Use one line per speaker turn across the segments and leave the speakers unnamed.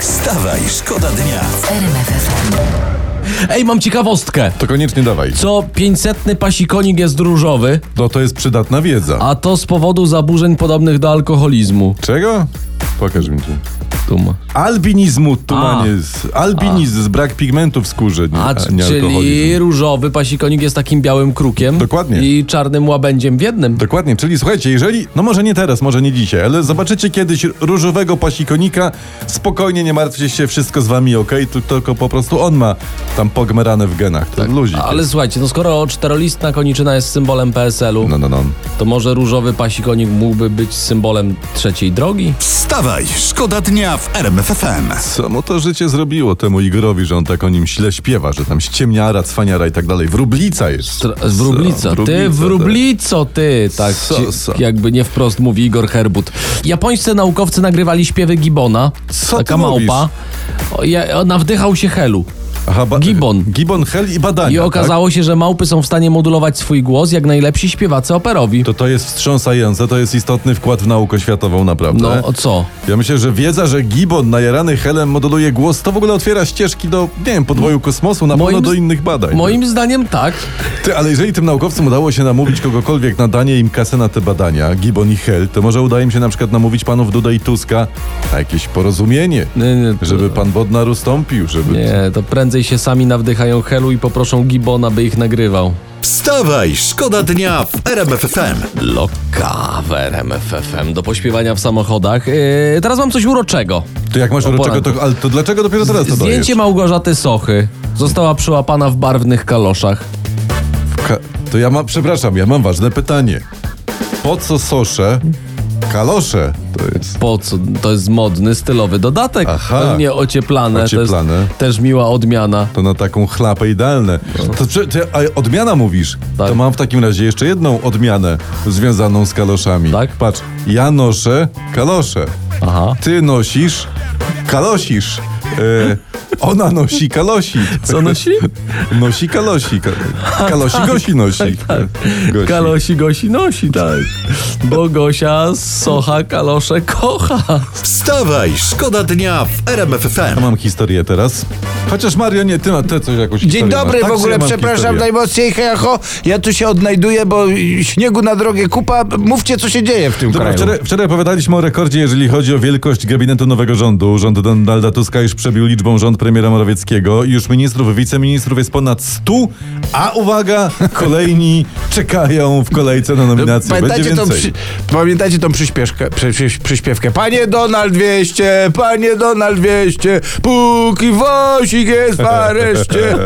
Wstawaj, szkoda dnia.
Ej, mam ciekawostkę.
To koniecznie dawaj.
Co 500 pasikonik jest różowy,
No to jest przydatna wiedza.
a to z powodu zaburzeń podobnych do alkoholizmu.
Czego? Pokaż mi tu.
Tu ma.
Albinizmu, tumanie. Z, albinizm, z brak pigmentu w skórze, nie,
A,
a, E, nie
czyli
alkoholizm.
różowy pasikonik jest takim białym krukiem.
Dokładnie.
I czarnym łabędziem w jednym.
Dokładnie, czyli słuchajcie, jeżeli, no może nie teraz, może nie dzisiaj, ale zobaczycie kiedyś różowego pasikonika, spokojnie, nie martwcie się, wszystko z wami okej, tu tylko po prostu on ma tam pogmerane w genach, to luzik.
Tak, Ale słuchajcie, no skoro czterolistna koniczyna jest symbolem PSL-u,
No, no, no.
to może różowy pasikonik mógłby być symbolem trzeciej drogi?
Wstawaj, szkoda dnia w RMFFM.
Co mu to życie zrobiło temu Igorowi, że on tak o nim źle śpiewa, że tam ściemniara, cwaniara i tak dalej. Wróblica jest. tak.
Tr- Wróblico,
Co?
ty
Wróblica,
wróblico, ty, tak
Co,
ci-
co?
jakby nie wprost mówi Igor Herbut. Japońscy naukowcy nagrywali śpiewy gibona,
Co
taka
ty
małpa, o, ja, o, nawdychał się helu.
Aha, ba-
Gibbon.
Gibbon, Hell i badania.
I
tak?
okazało się, że małpy są w stanie modulować swój głos jak najlepsi śpiewacy operowi.
To to jest wstrząsające, to jest istotny wkład w naukę światową, naprawdę.
No, o co?
Ja myślę, że wiedza, że Gibbon najarany helem moduluje głos, to w ogóle otwiera ścieżki do, nie wiem, podwoju kosmosu, na pewno
Moim
no do
z-
innych badań. no.
Moim zdaniem tak.
Ty, ale jeżeli tym naukowcom udało się namówić kogokolwiek na danie im kasę na te badania, Gibbon i Hell, to może uda im się na przykład namówić panów Duda i Tuska na jakieś porozumienie,
Nie, nie, to-
żeby pan Bodnar ustąpił, żeby...
Nie, to prędzej się sami nawdychają helu i poproszą gibona, by ich nagrywał.
Wstawaj, szkoda dnia w RMFFM.
Loka w RMFFM do pośpiewania w samochodach. Yy, teraz mam coś uroczego.
To jak masz uroczego,
poranku.
to, ale to dlaczego dopiero teraz to dajesz?
Zdjęcie Małgorzaty Sochy. Została przyłapana w barwnych kaloszach.
Ka- to ja mam, przepraszam, ja mam ważne pytanie. Po co sosze? Kalosze to jest.
Po co? To jest modny, stylowy dodatek.
Aha.
Pewnie ocieplane. To
Ocieplane.
jest też miła odmiana.
To na taką chlapę idealne. To, prze- ty, a odmiana mówisz?
No. Tak.
To mam w takim razie jeszcze jedną odmianę związaną z kaloszami.
Tak?
Patrz, ja noszę kalosze.
Aha.
Ty nosisz kalosisz. E, ona nosi kalosi.
Co nosi? tak,
Nosi kalosi. Ka- Kalosi gosi nosi. Gosi.
Kalosi Gosi nosi, tak. Bo Gosia Socha kalosze kocha.
Wstawaj, szkoda dnia w
Ja
RMFFM.
mam historię teraz. Chociaż Mario, nie, ty, ma- ty coś jakąś
Dzień
historię
dobry,
masz. Tak,
w ogóle
ja mam
przepraszam
historię.
najmocniej, hejacho. Ja tu się odnajduję, bo śniegu na drogę kupa. Mówcie, co się dzieje w tym
Dobra,
kraju.
wczoraj, wczoraj opowiadaliśmy o rekordzie, jeżeli chodzi o wielkość gabinetu nowego rządu. Rząd Donalda Tuska już przebił liczbą rząd premiera Morawieckiego i już ministrów, wiceministrów jest ponad 100, a uwaga, kolejni czekają w kolejce na nominację.
Pamiętacie
Będzie
tą,
więcej.
przy, pamiętacie tą przyśpieszkę, przy, przy, przyśpiewkę? Panie Donald 200, panie Donald 200, póki Wosik jest w areszcie.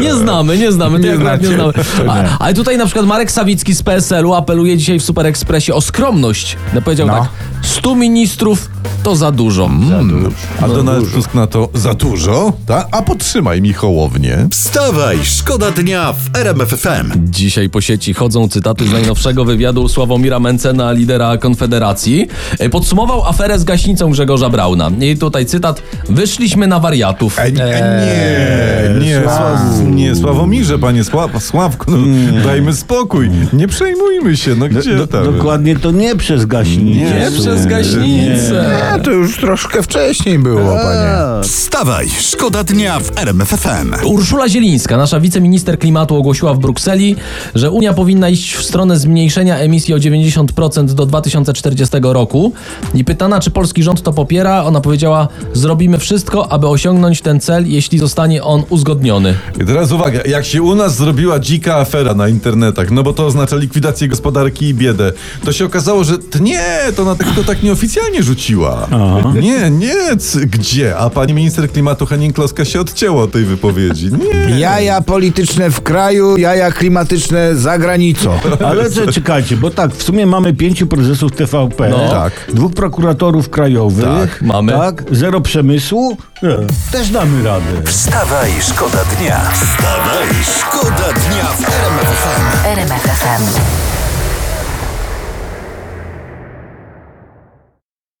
Nie znamy, nie znamy, to
Nie
nie, nie
znacie.
znamy. A, ale tutaj na przykład Marek Sawicki z PSL-u apeluje dzisiaj w Super Expressie o skromność. No, powiedział
No.
tak, 100 ministrów to za dużo.
A
No,
Donald Tusk na to za dużo, ta? a potrzymaj mi hołownię.
Wstawaj, szkoda dnia w RMFFM.
Dzisiaj po sieci chodzą cytaty z najnowszego wywiadu Sławomira Mencena, lidera Konfederacji. E, Podsumował aferę z gaśnicą Grzegorza Brauna. I tutaj cytat, wyszliśmy na wariatów.
E, nie, nie, nie, Sła- nie, Sławomirze, panie Sła- Sławku, no, dajmy spokój, nie przejmujmy się, no gdzie
Do,
tam?
dokładnie to nie przez gaśnicę.
Tak. Nie przez gaśnicę.
A, to już troszkę wcześniej było, panie.
Wstawaj, szkoda dnia w RMFFM.
Urszula Zielińska, nasza wiceminister klimatu, ogłosiła w Brukseli, że Unia powinna iść w stronę zmniejszenia emisji o 90% do 2040 roku. I pytana, czy polski rząd to popiera, ona powiedziała: Zrobimy wszystko, aby osiągnąć ten cel, jeśli zostanie on uzgodniony.
I teraz uwaga, jak się u nas zrobiła dzika afera na internetach, no bo to oznacza likwidację gospodarki i biedę, to się okazało, że t- nie, to na tych to tak nieoficjalnie rzuciła. Nie, nie, c- gdzie? A pani minister klimatu Henning Kloska się odcięła od tej wypowiedzi. Nie.
Jaja polityczne w kraju, jaja klimatyczne za granicą.
Ale co, czekajcie, bo tak, w sumie mamy pięciu prezesów TVP,
No.
Tak.
dwóch prokuratorów krajowych, tak,
mamy.
tak, zero przemysłu, nie, też damy radę.
Wstawaj, szkoda dnia. Wstawaj, szkoda